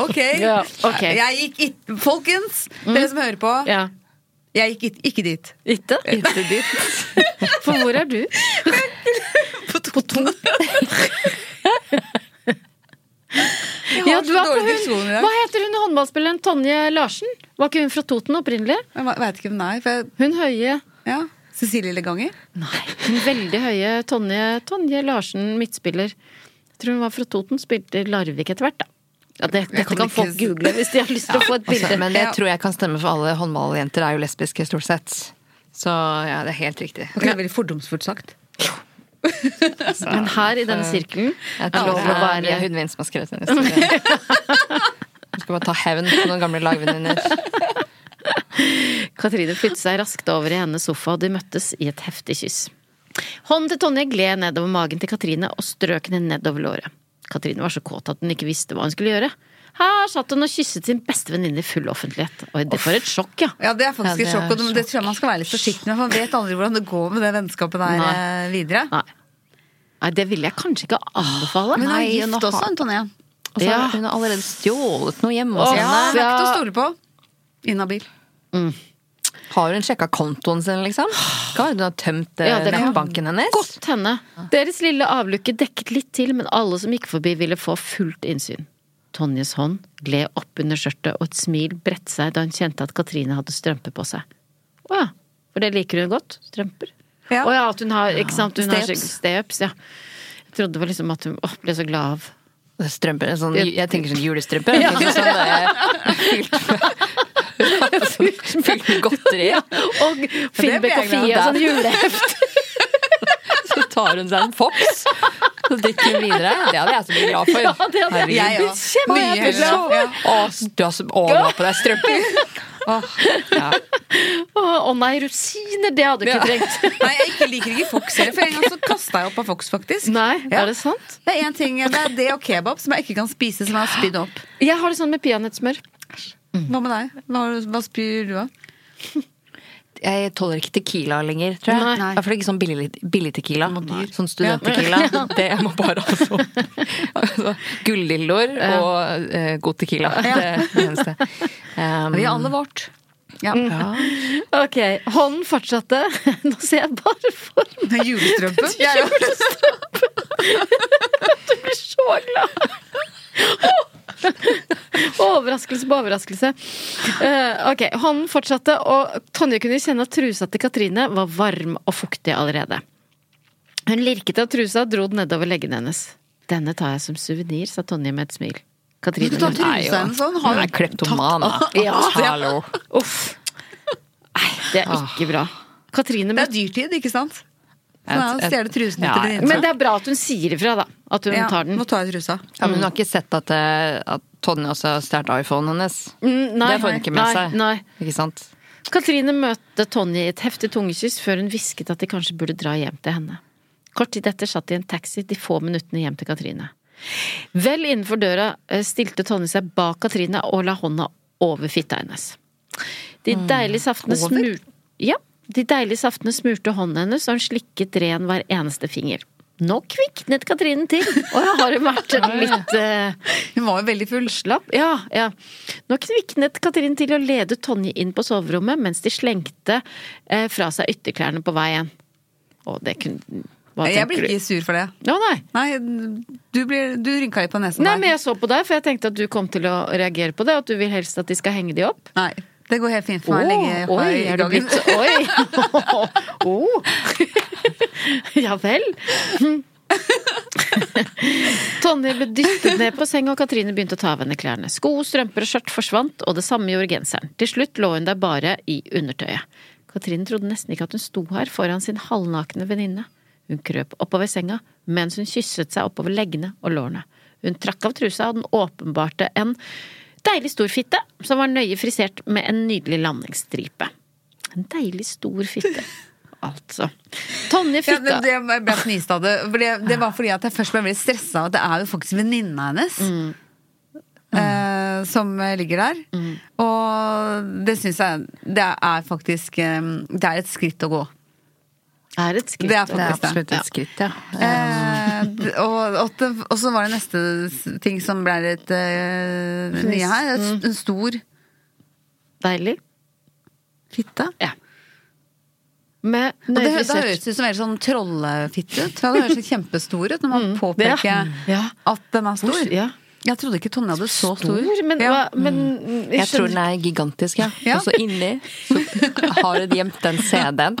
Ok. Ja, ok. Mm. Jeg gikk ikke Folkens, dere som hører på. Ja. Jeg gikk ikke, ikke dit. Ikke? Ikke dit. For hvor er du? På Toten. Ja, du er på hun. hun. Hva heter hun håndballspilleren Tonje Larsen? Var ikke hun fra Toten opprinnelig? Jeg va- vet ikke hvem det er. For jeg, Hun høye ja. Cecilie Leganger. Nei, hun veldig høye Tonje, Tonje Larsen, midtspiller. Jeg tror hun var fra Toten, spilte i Larvik etter hvert, da. Ja, det, dette kan kan ikke folk s- google hvis de har lyst til å få et bilde. Altså, men det Ja. tror jeg kan stemme for alle håndballjenter er jo lesbiske, stort sett. Så ja, det er helt riktig. Det er veldig fordomsfullt sagt. Men her i denne sirkelen Jeg er tror lov altså, det å er Mia være Hundvin som har skrevet den historien. Du skal bare ta hevn på noen gamle lagvenninner. Katrine flyttet seg raskt over i hennes sofa, og de møttes i et heftig kyss. Hånden til Tonje gled nedover magen til Katrine og strøk henne nedover låret. Katrine var så kåt at hun ikke visste hva hun skulle gjøre. har satt hun og kysset sin beste venninne i full offentlighet. Oi, det for et sjokk, ja. Ja, det er faktisk Ja, et det sjokk, er og det- det tror jeg man skal være litt forsiktig med, for man vet aldri hvordan det går med det vennskapet der Nei. eh, videre. Nei. Nei, det ville jeg kanskje ikke anbefale. Men hun er Nei, gift nå har- også, Antonija. Og så har Ja. hun har allerede stjålet noe hjemme Åh, hos Ja, Anne. hun henne. er ikke til å Ja. stole på. Inhabil. Har hun sjekka kontoen sin, liksom? Kan hun ha tømt eh, Ja, det kan- nettbanken hennes? Godt henne. Deres lille avlukke dekket litt til, men alle som gikk forbi ville få fullt innsyn. Tonjes hånd gled opp under skjørtet, og et smil bredte seg da hun kjente at Katrine hadde strømper på seg. Å ja, for det liker hun godt. Strømper. Å Ja. ja. at hun har ikke sant? Hun har Steps. så- steps. Ja. Jeg trodde det var liksom at hun åh, ble så glad av Strømper, sånn, jeg tenker sånn julestrømpe. Sånn, sånn, eh, fylt, med- fylt med godteri. Og Finnbekk og Fie og glad i. sånn juleheft. Så tar hun seg en Fox og drikker den videre. Det hadde jeg så blitt glad for. Ja, det hadde jeg Jeg Herregud. også. Mye Mye heller. heller. Ja. Å, du har så å, du har på deg strømper. Å å nei, rosiner! Det hadde du ikke trengt. Nei, jeg ikke liker ikke Fox heller, for en gang så kasta jeg opp av Fox, faktisk. Nei, Ja. er det sant? Det er en ting, det er det og kebab som jeg ikke kan spise, som jeg har spydd opp. Jeg har det sånn med peanøttsmør. Mm. Hva med deg? Hva, hva spyr du av? Jeg tåler ikke tequila lenger, tror jeg. Nei. I hvert fall ikke sånn billig, billig tequila. Sånn student-tequila. Ja. Det jeg må bare ha sånn. Altså, Gullilloer og eh, god tequila. Det er det eneste. Um, Vi har alle vårt. Ja. Mm. Ok, hånden fortsatte. Nå ser jeg bare for meg Det er Julestrømpe. Ja, ja. blir så glad. Overraskelse på overraskelse. Eh, ok, Hånden fortsatte, og Tonje kunne kjenne at trusa til Katrine var varm og fuktig allerede. Hun lirket av trusa og dro den nedover leggene hennes. Denne tar jeg som suvenir, sa Tonje med et smil. Katrine Du tar lo. trusa hennes sånn. Hun Har er kleptoman. da. Ja. Hallo. Uff. Nei, det er ikke bra. Katrine Det møtte er dyrtid, ikke sant? Sånn Så da stjeler trusen Ja, etter ja. venninna. Men det er bra at hun sier ifra, da. At hun Ja, tar den. Nå tar jeg trusa. Ja, men hun har ikke sett at, eh, at Tonje også har stjålet iPhonen hennes. Mm, nei, det får hun ikke med nei, seg. nei. Ikke sant? Katrine møtte Tonje i et heftig tungekyss før hun hvisket at de kanskje burde dra hjem til henne. Kort tid etter satt de i en taxi de få minuttene hjem til Katrine. Vel innenfor døra eh, stilte Tonje seg bak Katrine og la hånda over fitta hennes. De Mm. deilige saftene smur... Ja, de deilige saftene smurte hånden hennes, og hun slikket ren hver eneste finger. Nå kviknet Katrine til, og jeg har hun vært litt eh, Hun var jo veldig full. Slapp, ja, ja. Nå kviknet Katrin til å lede Tonje inn på soverommet mens de slengte eh, fra seg ytterklærne på veien. Å, det kunne Hva Jeg tenker blir du? ikke sur for det. Å, nei. Nei, du, blir, du rynka litt på nesen nei, der. men jeg så på deg, for jeg tenkte at du kom til å reagere på det. og At du vil helst at de skal henge de opp. Nei, det går helt fint for meg. Lenge jeg Å, har oi, i er du gangen. blitt Oi! Å. ja vel. Tonje ble dyttet ned på senga, og Katrine begynte å ta av henne klærne. Sko, strømper og skjørt forsvant, og det samme gjorde genseren. Til slutt lå hun der bare i undertøyet. Katrine trodde nesten ikke at hun sto her foran sin halvnakne venninne. Hun krøp oppover senga mens hun kysset seg oppover leggene og lårene. Hun trakk av trusa, og den åpenbarte en deilig stor fitte som var nøye frisert med en nydelig landingsstripe. En deilig stor fitte. Altså. Tonje Ja, fitta men det, jeg ble fnist av det. For det, det var fordi at jeg først ble veldig stressa av at det er jo faktisk venninna hennes. Mm. eh, som ligger der. Og det syns jeg Det er faktisk eh, Det er et skritt å gå. er et skritt. Det å er Det ta. er faktisk det. absolutt et skritt, ja. Eh, d- og, og, det- og så var det neste s- ting som ble litt eh, nye her. Et, Mm. s- en stor Deilig. fitte. Ja. Med Og det, nøye hø- da høres frisert. det ut som en sånn trollefitte. ut. Ja, Det høres så kjempestor ut når man påpeker Mm. Ja. Ja. at den er stor. Hvor- ja. Jeg trodde ikke Tonje hadde så stor. Stor, men, ja. Mm. hva- men Jeg tror skjønner- den er gigantisk, ja. Ja. Og så inni så har hun gjemt den CD-en.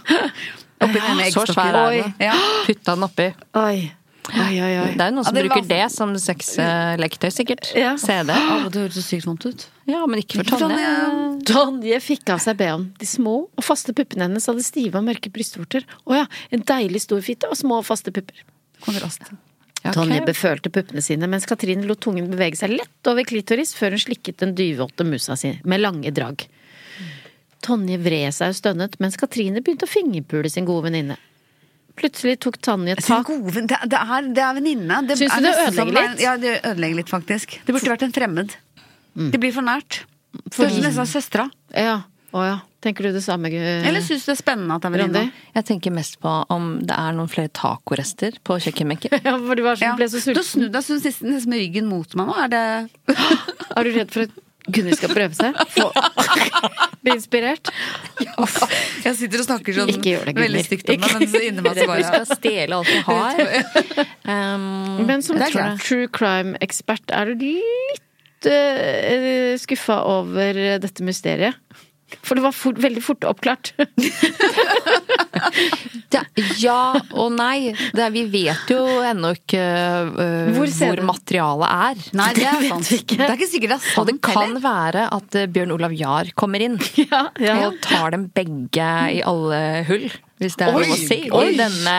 Oppi den ene Så svær eggstokken. er den. Oi. Ja. Putta den oppi. Oi. Oi, oi, oi. Det er jo noen som Ja, det var- bruker det som sexleketøy, sikkert. Ja. sånn, CD. Å, det høres så sykt vondt ut. Ja, men ikke for Ikke for Tonje. Tonje. Tonje fikk av seg BH-en. De små og faste puppene hennes hadde stive og mørke brystvorter. Å ja, en deilig stor fitte og små og faste pupper. Kontrast. Ja, ok. Tonje befølte puppene sine, mens Katrine lot tungen bevege seg lett over klitoris før hun slikket den dyvåte musa si med lange drag. Tonje vred seg og stønnet, mens Katrine begynte å fingerpule sin gode venninne. Plutselig tok Tonje Det er, tak gode venn- det er, det er venninne. Syns du er det nesten som- ødelegger litt? Ja, det ødelegger litt, faktisk. Det burde vært en fremmed. Det blir Mm. for nært. Føles Fordi- som nesten som søstera. Ja. Å ja. Tenker du det samme, Gu- Eller syns du det er spennende at det er venninna? Randi? Jeg tenker mest på om det er noen flere tacorester på kjøkkenbenken. Ja, for du var så, Ja. ble så Du har sulten. snudd deg så du sitter nesten med ryggen mot meg nå. Er det Er du redd for at Gunnhild skal prøve seg? Få... Bli inspirert? Uff. Jeg sitter og snakker sånn Ikke gjør det, Gunnhild. veldig stygt om det, men så inni meg så Redd går du skal jeg stjele alt du har. Um, Men som Det er true- klart. true crime-ekspert, er du litt uh, skuffa over eh, dette mysteriet? For det var fort, veldig fort oppklart. det, ja og nei. Det, er- vi vet jo ennå ikke øh, Hvor hvor, ser du- materialet er. Nei, det er vet sant. vi ikke. Det er ikke sikkert det er Og det sant kan heller. være at øh, Bjørn Olav Jahr kommer inn Ja, ja. og tar dem begge i alle hull. Hvis det er Oi, lov å si. oi. I denne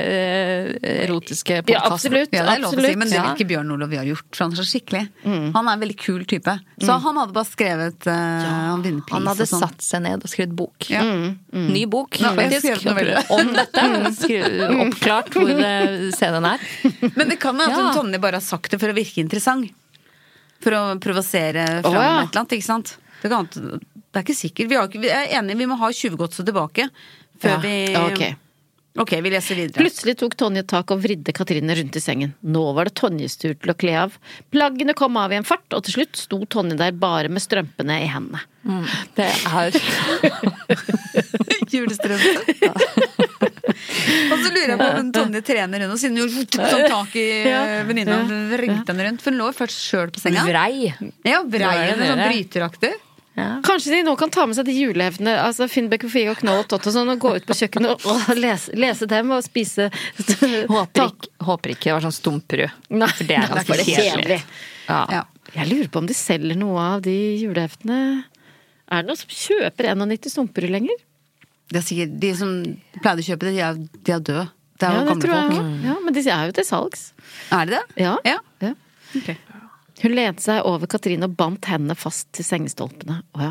øh, erotiske podkasten. Ja, absolutt. Ja, det er lov å si, absolutt. men det Ja. vil Mm. ikke Bjørn Olav har gjort. For han er så skikkelig. Han er en veldig kul type. Så han hadde bare skrevet eh, Han vinner pris Han hadde og sånn. satt seg ned og skrevet bok. Ja. Mm, Ny bok, Ja, jeg skrev faktisk. novelle. Om dette. Skrev- Oppklart hvor eh, scenen er. Men det kan være at Ja. Tonje bare har sagt det for å virke interessant. For å provosere fram Å, ja. et eller annet, ikke sant. Det, kan, det er ikke sikkert. Vi, har ikke, vi er enige, vi må ha tjuvgodset tilbake før Ja, vi ok. ok, vi leser videre. Plutselig tok Tonje tak og vridde Katrine rundt i sengen. Nå var det Tonjes tur til å kle av. Plaggene kom av i en fart, og til slutt sto Tonje der bare med strømpene i hendene. Det er Julestrømpe. og så lurer jeg på om Tonje trener hun, og siden hun gjorde sånn tak i eh, venninna og vrengte henne rundt. For hun lå jo først sjøl på senga. vrei. Ja, vrei Det er det henne sånn dere. bryteraktig. Kanskje de nå kan ta med seg de juleevnene altså Finn Bekke, Fie og Knoll og Totteson og gå ut på kjøkkenet og lese, lese dem og spise Håper ikke, håper ikke det var sånn stumperud. Nei, For det er ganske for det er kjedelig. Ja. Ja. Jeg lurer på om de selger noe av de juleheftene. Er det noen som kjøper 91 stumper lenger? Det er sikkert, de som pleide å kjøpe det, de er, de er døde. Det er Ja, det jo gamle tror jeg folk. også. Ja, men de er jo til salgs. Er det det? Ja. Ja. Ja. Hun lente seg over Katrine og bandt hendene fast til sengestolpene. Å ja.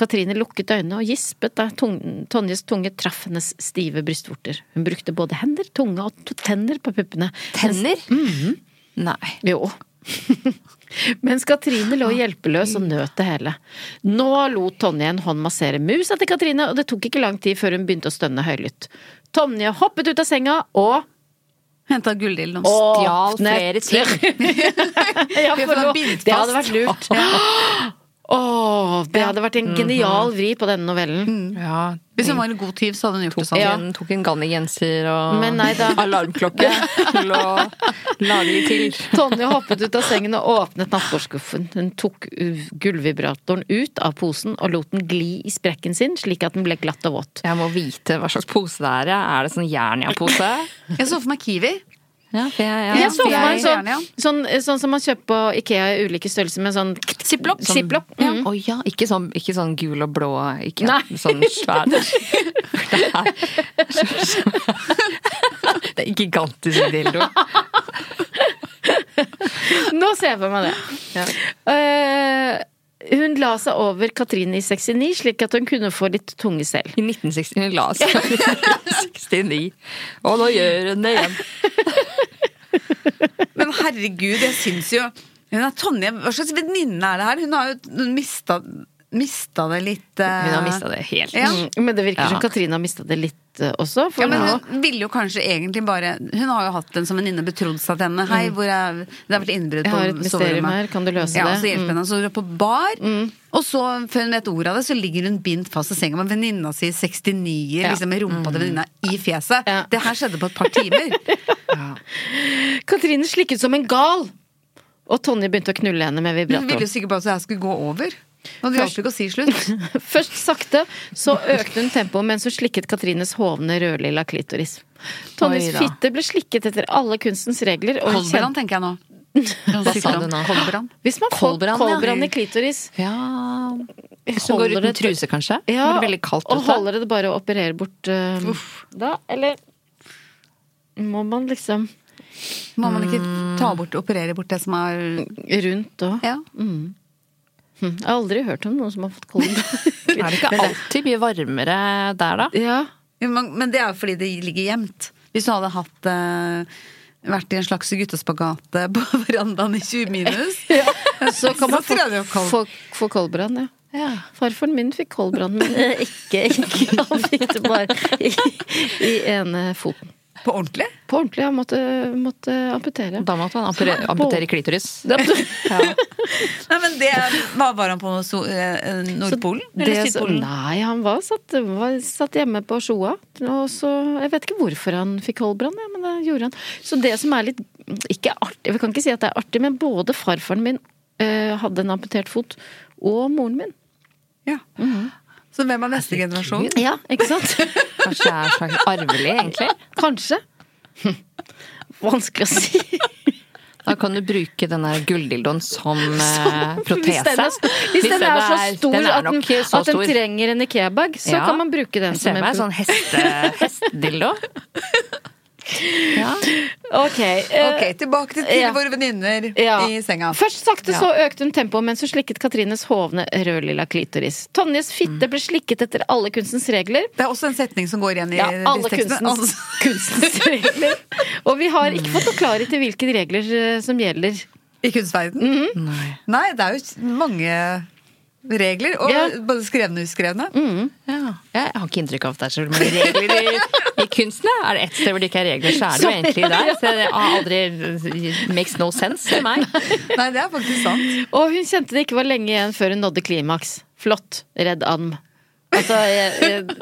Katrine lukket øynene og gispet da tungen- Tonjes tunge traff hennes stive brystvorter. Hun brukte både hender, tunge og to- tenner på puppene. Tenner? Mm. Nei. Jo. Mens Katrine lå hjelpeløs og nøt det hele. Nå lot Tonje en hånd massere musa til Katrine, og det tok ikke lang tid før hun begynte å stønne høylytt. Tonje hoppet ut av senga og Henta gulldildoen. Stjal flere ting. Ja, Vi for får nå- bindt det hadde fast. vært lurt. Åh, det hadde vært en genial vri på denne Mm. novellen. Ja. Hvis hun var en god tyv, så hadde hun gjort det sånn. Tok en, tok en Ganni-genser og Men nei da. alarmklokke til å lage litt til. Tonje hoppet ut av sengen og åpnet nattbordskuffen. Hun tok u- gullvibratoren ut av posen og lot den gli i sprekken sin, slik at den ble glatt og våt. Jeg må vite hva slags pose det er. ja. Er det sånn Jernia-pose? Jeg så for meg Kiwi. Ja, for jeg, ja. Jeg så for meg en sånn, gjerne, ja. sånn, sånn som man kjøper på Ikea i ulike størrelser, med sånn Ziplock. Sånn- Ziplock. Mm. Å ja, ikke sånn, ikke sånn gul og blå, ikke Nei. sånn svær Det er, det er en gigantisk dildo. Nå ser jeg for meg det. Eh, hun la seg over Katrine i 69, slik at hun kunne få litt tunge selv. I 1969 la oss 69. Og nå gjør hun det igjen. Men herregud, jeg syns jo hun er Tonje, Hva slags venninne er det her? Hun har jo mista, mista det litt eh, Hun har mista det helt. Ja. Mm, Men det virker Ja. som Katrine har mista det litt eh, også. For Ja, men nå- hun ville jo kanskje egentlig bare Hun har jo hatt en som venninne betrodd seg til henne. Hei, hvor er, det har vært Mm. innbrudd Jeg på har et mysterium soverommet. her, kan du løse ja, det? Mm. og Så hjelper henne, så går hun på bar, og så, før hun vet ordet av det, så ligger hun bindt fast i senga med venninna si 69 Ja. Mm. liksom med rumpa til venninna i fjeset. Ja. Det her skjedde på et par timer. Katrine slikket som en gal! Og Tonje begynte å knulle henne med Hun ville vibratoren. jo sikkert bare at det her skulle gå over. Og det hjalp ikke å si slutt. Først sakte, så økte hun tempoet mens hun slikket Katrines hovne rødlilla klitoris. Tonjes Oi da. fitte ble slikket etter alle kunstens regler. Og hun Kolbrand, kjente, tenker jeg nå. Hva sa du nå? Kolbrand. hvis man får Kolbrand, ja. kolbrand i klitoris Ja Hvis hun går holder uten det- truse, kanskje? ja, Blir det veldig kaldt og ute? holder det bare å operere bort eh, da? Eller må man liksom Må man ikke Mm. ta bort, operere bort det som er rundt og Ja. Hm, Jeg har aldri hørt om noen som har fått kolbrand. Er det ikke alltid mye varmere der, da? ja. Jo, Men, men det er jo fordi det ligger gjemt. Hvis du hadde hatt eh, vært i en slags guttespagat eh, på verandaen i 20 minus, Så kan man få, Så tror jeg det var kold. få, få koldbrann, ja. Farfaren min fikk koldbrann, men eh, ikke, ikke Han fikk det bare i, i ene foten. På ordentlig? På ordentlig. Han måtte, måtte amputere. Da måtte han amputere, amputere klitoris. Nei, men det var, var han på so eh, Nordpolen? Eller Det, Sydpolen? nei, han var satt, var satt hjemme på Sjoa. Og så, jeg vet ikke hvorfor han fikk koldbrann, ja, men det gjorde han. Så det som er litt ikke artig, Vi kan ikke si at det er artig, men både farfaren min eh, hadde en amputert fot, og moren min. Ja. Så hvem er neste generasjon? Ja, ikke sant? Kanskje det er slags arvelig, egentlig. Kanskje. Vanskelig å si. Da kan du bruke den der gulldildoen som, eh, Hvis den protese. er, hvis den er så stor den er at, den, nok så at den stor. trenger en Ikea-bag, så Ja. kan man bruke den Jeg ser som meg en en sånn heste, hestedildo. Ja. Ok, eh, Ok, tilbake til, til Ja. våre venninner Ja. i senga. Først sakte så økte hun tempoet mens hun slikket Katrines hovne rødlilla klitoris. Tonjes Mm. fitte ble slikket etter alle kunstens regler. Det er også en setning som går igjen i Ja, alle disse tekstene. kunstens, kunstens regler. Og vi har ikke fått noe klarhet i hvilke regler eh, som gjelder. I kunstverden? Nei, det er jo mange regler. Og Ja. både skrevne og uskrevne. Ja. Jeg har ikke inntrykk av at det er så mange regler i, i kunsten. ja. Er det ett sted hvor det ikke er regler, så er det jo egentlig der. Så det har aldri makes no sense for meg. Nei, det er faktisk sant. Og hun kjente det ikke var lenge igjen før hun nådde klimaks. Flott. Redd and. Altså, jeg, jeg,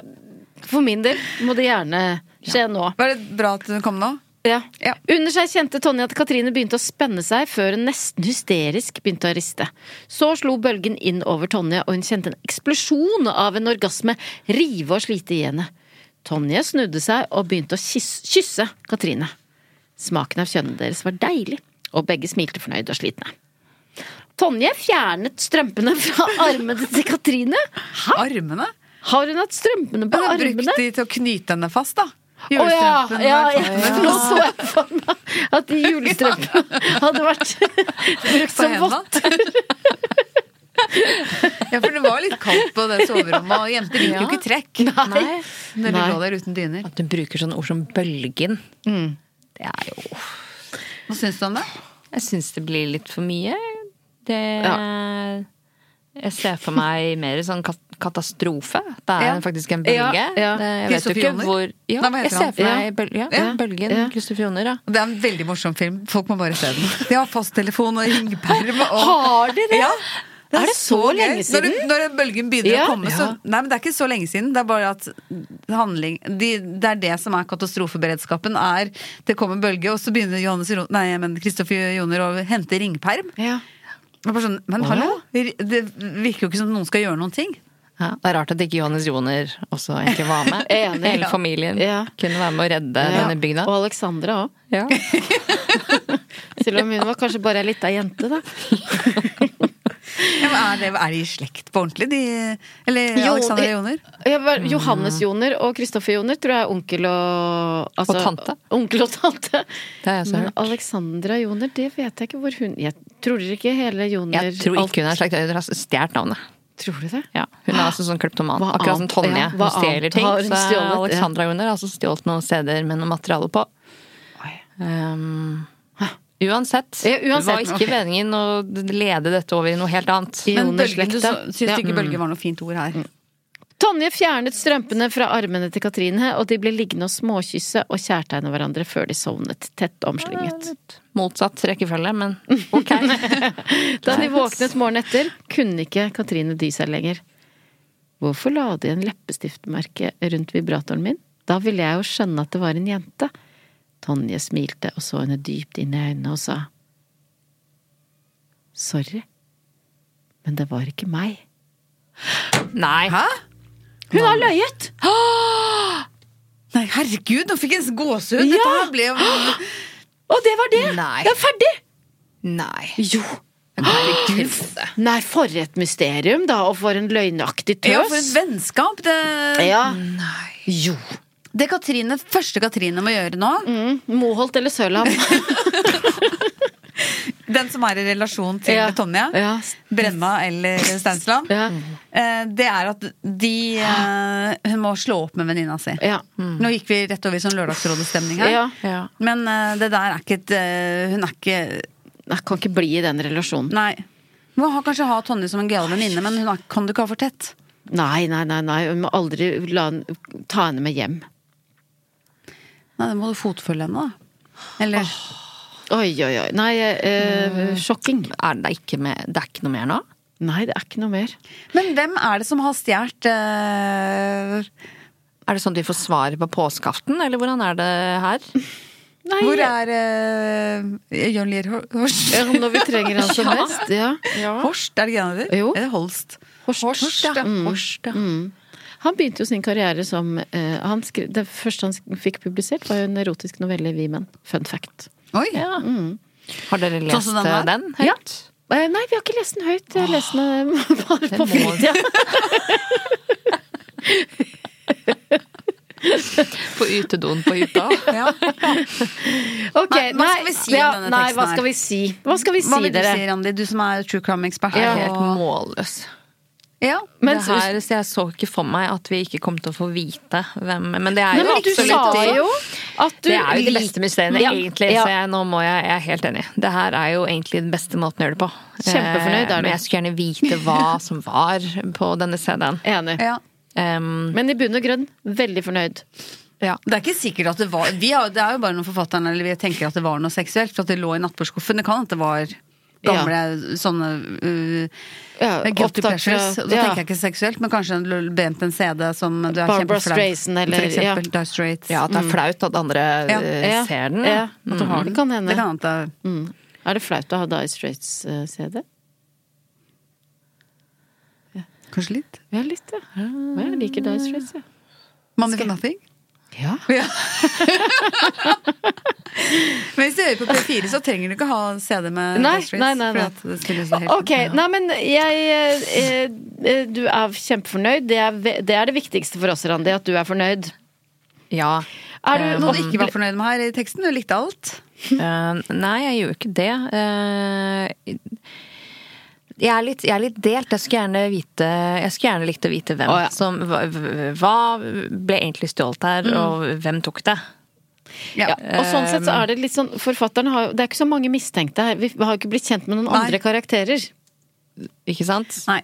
for min del må det gjerne skje nå. Var det bra at hun kom nå? Ja. Ja. Under seg kjente Tonje at Katrine begynte å spenne seg før hun nesten hysterisk begynte å riste. Så slo bølgen inn over Tonje, og hun kjente en eksplosjon av en orgasme rive og slite i henne. Tonje snudde seg og begynte å kysse, kysse Katrine. Smaken av kjønnet deres var deilig, og begge smilte fornøyd og slitne. Tonje fjernet strømpene fra armene til Katrine. Hæ? Armene? Har hun hatt strømpene på Hun har brukt armene? de til å knyte henne fast, da. eh, Å ja, Julestrømpen. ja, var- ja, for nå så jeg for meg at de julestrømpene hadde vært brukt På som hendene. vått. ja, for det var litt kaldt på det soverommet, og jenter liker jo ikke trekk Nei. når de Nei. lå der uten dyner. At hun bruker sånne ord som bølgen. Mm. Det er jo Hva syns du om det? Jeg syns det blir litt for mye. Det Jeg ser for meg mer sånn kat katastrofe. Det er Ja. faktisk en bølge. Ja, ja. Det- Jeg vet jo ikke Kristoffer Joner? hvor ja, Nei, hva heter Jeg ser for han? meg bøl ja, Ja. ja, bølgen. Ja. Kristoffer Joner, ja. Det er en veldig morsom film. Folk må bare se den. De har fasttelefon og ringeperm og Har de det? Ja. Er det så gøy. lenge Når, siden? det- når det- bølgen begynner Ja. å komme, så Nei, men det er ikke så lenge siden. Det er bare at handling de, Det er det som er katastrofeberedskapen. Er det kommer en bølge, og så begynner Johannes Ro- Nei, men Kristoffer Joner å hente ringperm. Ja. Og bare sånn, men hallo? Det virker jo ikke som noen skal gjøre noen ting. Ja, det er rart at ikke Johannes Joner også egentlig var med. Enig, Hele ja. familien Ja. kunne være med å redde denne bygda. Og Alexandra òg. Ja. Selv om hun var kanskje bare ei lita jente, da. Ja, men er, det, er de i slekt på ordentlig, de? Eller Jo, Alexander de- Joner? Ja, hva- Johannes Joner og Kristoffer Joner tror jeg er onkel og altså, Og tante. Onkel og tante. Det har jeg også Men hørt. Alexandra Joner, det vet jeg ikke hvor hun Jeg tror ikke hele Joner Jeg tror alt- ikke hun har sagt Hun har stjålet navnet. Tror du det? Ja, hun er altså sånn kleptoman. Hva Akkurat som annet- Tonje. ja, hun hva stjeler annet ting. har hun Så stjålet? Alexandra Joner har altså stjålet noen steder med noe materiale på. Um, uansett, Ja, det var uansett, ikke meningen å lede dette over i noe helt annet. Men Joner-slekta. bølgen, du så- syns Ja. Mm. du ikke bølge var noe fint ord her? Tonje fjernet strømpene fra armene til Katrine, og de ble liggende og småkysse og kjærtegne hverandre før de sovnet, tett omslynget. Motsatt rekkefølge, men Mm. ok. Da de våknet morgenen etter, kunne ikke Katrine dy seg lenger. Hvorfor la de en leppestiftmerke rundt vibratoren min? Da ville jeg jo skjønne at det var en jente. Tonje smilte og så henne dypt inn i øynene og sa Sorry, men det var ikke meg. Nei. Hun har løyet! Nei, herregud, nå fikk jeg en gåsehud! Dette Ja. her ble jo Og det var det! Nei. Det er ferdig! Nei. Jo, Herregud. Nei, for et mysterium, da, og for en løgnaktig tøs. Ja, for et vennskap! Det, Ja. Jo. det Katrine, første Katrine må gjøre nå, Mm. Moholt eller Sørlam. den som er i relasjon til Ja. Tonje, Ja. Brenna eller Steinsland, Ja. eh, det er at de eh, Hun må slå opp med venninna si. Ja. Nå gikk vi rett over i sånn Lørdagsrådet-stemning her. ja. Ja. Men eh, det der er ikke et eh, Hun er ikke Jeg kan ikke bli i den relasjonen. Nei. Må ha, kanskje ha Tonje som en gøyal venninne, men hun er, kan du ikke ha for tett. Nei, nei, nei, nei. hun må aldri la, han- ta henne med hjem. Nei, Da må du fotfølge henne, da. Eller Oi, oi, oi. Nei, eh, sjokking. Er det, ikke med, det er ikke noe mer nå? Nei, det er ikke noe mer. Men hvem er det som har stjålet eh, Er det sånn at vi får svar på påskeaften, eller hvordan er det her? Nei, Hvor er eh, Jørn Lier Hor- Horst? ja, Når vi trenger han som mest. Ja. Horst, er det ikke det han heter? Jo. Eller Holst? Horst, Horst, ja. Mm. Horst, ja. Han begynte jo sin karriere som eh, han skri, Det første han sk- fikk publisert, var jo en erotisk novelle i Vi menn. Fun fact. Oi! Har dere Sånn lest som den eh, var? den? Ja. høyt? Eh, nei, vi har ikke lest den høyt. Jeg har lest den eh, Ah, bare på må fritida. På utedoen på hytta? Ja. Ok, Nei, hva nei, skal vi si om ja, denne nei, teksten hva her? skal vi si? Hva skal vi Hva si, vil du dere? si, Randi, du som er true crime-ekspert? Jeg er her, helt og- målløs. Ja. Men- det her, så jeg så ikke for meg at vi ikke kom til å få vite hvem Men det er Nei, jo men du absolutt sa det. jo at du det er jo det beste mysteriet, Ja, egentlig. ja. Så jeg, nå må jeg, jeg er helt enig. Det her er jo egentlig den beste måten å gjøre det på. Kjempefornøyd er du. Eh, Men jeg skulle gjerne vite hva som var på denne CD-en. Enig. ja. Em, Men i bunn og grunn, veldig fornøyd. ja. Det er ikke sikkert at det var vi har, Det er jo bare noen forfatterne eller vi tenker at det var noe seksuelt, for at det lå i nattbordskuffen. Det kan at det var gamle sånne uh, Ja, guilty opptak fra- pleasures. Og da ja. tenker jeg ikke seksuelt, men kanskje en bent en CD som du er Barbara kjempeflau Streisand eller- For eksempel Dire Straits. ja, at det er flaut at andre Ja. eh, mm. Ja, ser den. ja. Mm. At du har den, kan hende. Det kan at det Mm. Er det flaut å ha eh, Dye Straits-CD? Kanskje litt? Ja, litt, ja. Ja, Jeg liker Dye Straits, jeg. Money for nothing? Ja. Ja. men hvis du hører på P4, så trenger du ikke ha CD med Nei, Dire Straits. nei, nei, nei. fordi at det spilles jo helt- Ok, nei, men jeg eh, eh, Du er kjempefornøyd. Det er, ve- det er det viktigste for oss, Randi, at du er fornøyd. Ja. Er du, Noe du Eh, ikke var fornøyd med her i teksten? Du likte alt? Eh, nei, jeg gjør jo ikke det. Eh, jeg er, litt, jeg er litt delt. Jeg skulle gjerne, vite, jeg skulle gjerne likt å vite hvem Å, ja. som hva, hva ble egentlig stjålet her, Mm. og hvem tok det? ja. Og sånn sett så er det litt sånn Forfatteren har jo Det er ikke så mange mistenkte her. Vi har jo ikke blitt kjent med noen Nei. andre karakterer. Ikke sant? Nei.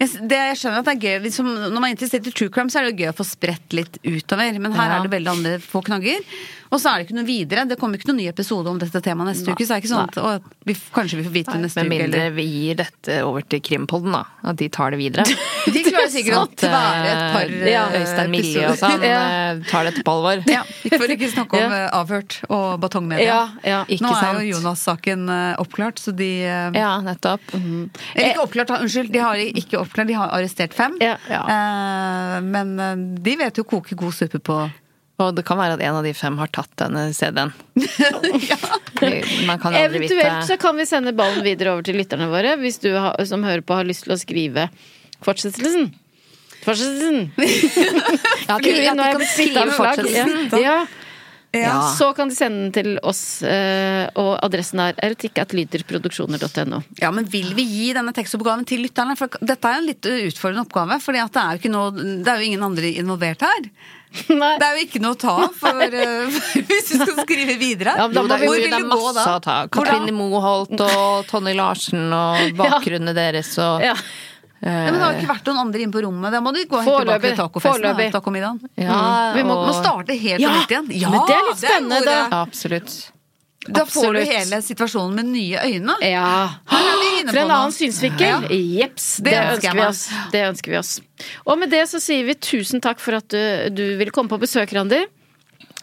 Jeg, s- det, jeg skjønner at det er gøy liksom, Når man er interessert i true crime, så er det jo gøy å få spredt litt utover. Men her Ja. er det veldig andre få knagger. Og så er det ikke noe videre. Det kommer ikke noen ny episode om dette temaet neste uke. Så er det ikke sånn at å, vi, f- kanskje vi får vite det neste Med uke. mindre Eller. vi gir dette over til Krimpodden, da. At de tar det videre. De klarer sikkert å At, eh, tvære et par eh, ja, Øystein Millie og sånn Ja. eh, tar dette på alvor. Ja, For ikke snakke om eh, avhørt og batongmedia. Ja, ja. Ikke Nå er sant? jo Jonas-saken eh, oppklart, så de eh, Ja, nettopp. Eller ikke oppklart, da, unnskyld. De har ikke oppklart, de har arrestert fem. Ja. Eh, men eh, de vet jo å koke god suppe på Og det kan være at en av de fem har tatt denne CD-en. Man kan aldri Eventuelt så vite. kan vi sende ballen videre over til lytterne våre, hvis du har, som hører på har lyst til å skrive fortsettelsen. Fortsettelsen! Ja, at de- at de Guri, nå er kan jeg blitt skrive sikta med flagg. fortsettelsen. Ja. Ja. Så kan de sende den til oss, eh, og adressen er erotikkattlyderproduksjoner.no. Ja, men vil vi gi denne tekstoppgaven til lytterne? For dette er jo en litt eh, utfordrende oppgave, for det, er jo ikke noe- det er jo ingen andre involvert her. Nei. Det er jo ikke noe å ta av for, eh, for hvis du skal skrive videre. Ja, men da må Hvor vi- vil det du er gå masse da? å ta av. Hvor da? Katrine Moholt og Tonje Larsen og bakgrunnene deres og Ja. Ja, men det har jo ikke vært noen andre inne på rommet. Da må du gå helt tilbake Eh. Foreløpig. til tacofesten. da, Foreløpig. Tacomiddagen. Ja, Vi må- Du og- må starte helt på Ja, nytt igjen. men det er litt en god spennende, idé. Ja, absolutt. Da får du Absolutt. hele situasjonen med nye øyne. Ja. Her er vi inne Fra på en noe. annen synsvinkel. Jeps. Det, Det ønsker jeg ønsker vi meg. oss. Det ønsker vi oss. Og med det så sier vi tusen takk for at du, du ville komme på besøk, Randi.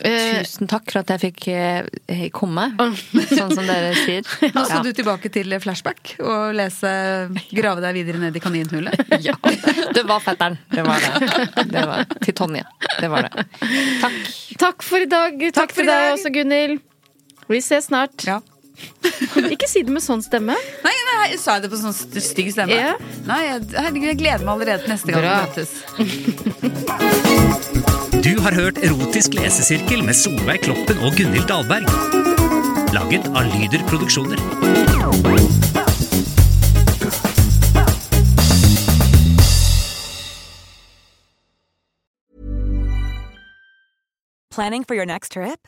Eh, Tusen takk for at jeg fikk eh, komme, sånn som dere sier. Nå skal Ja. du tilbake til flashback og lese Grave deg videre ned i kaninhullet. Ja. Det var fetteren. Det var det. det var, til Tonje. Det var det. Takk. Takk for i dag. Takk, for til i deg dag. også, Gunhild. Vi ses snart. Ja. Ikke si det med sånn stemme. Nei, nei, sa jeg det på sånn st- stygg stemme? Ja. Nei, jeg- herregud, jeg gleder meg allerede til neste gang vi Bra. møtes. Du har hørt Erotisk lesesirkel med Solveig Kloppen og Gunhild Dahlberg. Laget av Lyder Produksjoner. Planning for your next trip?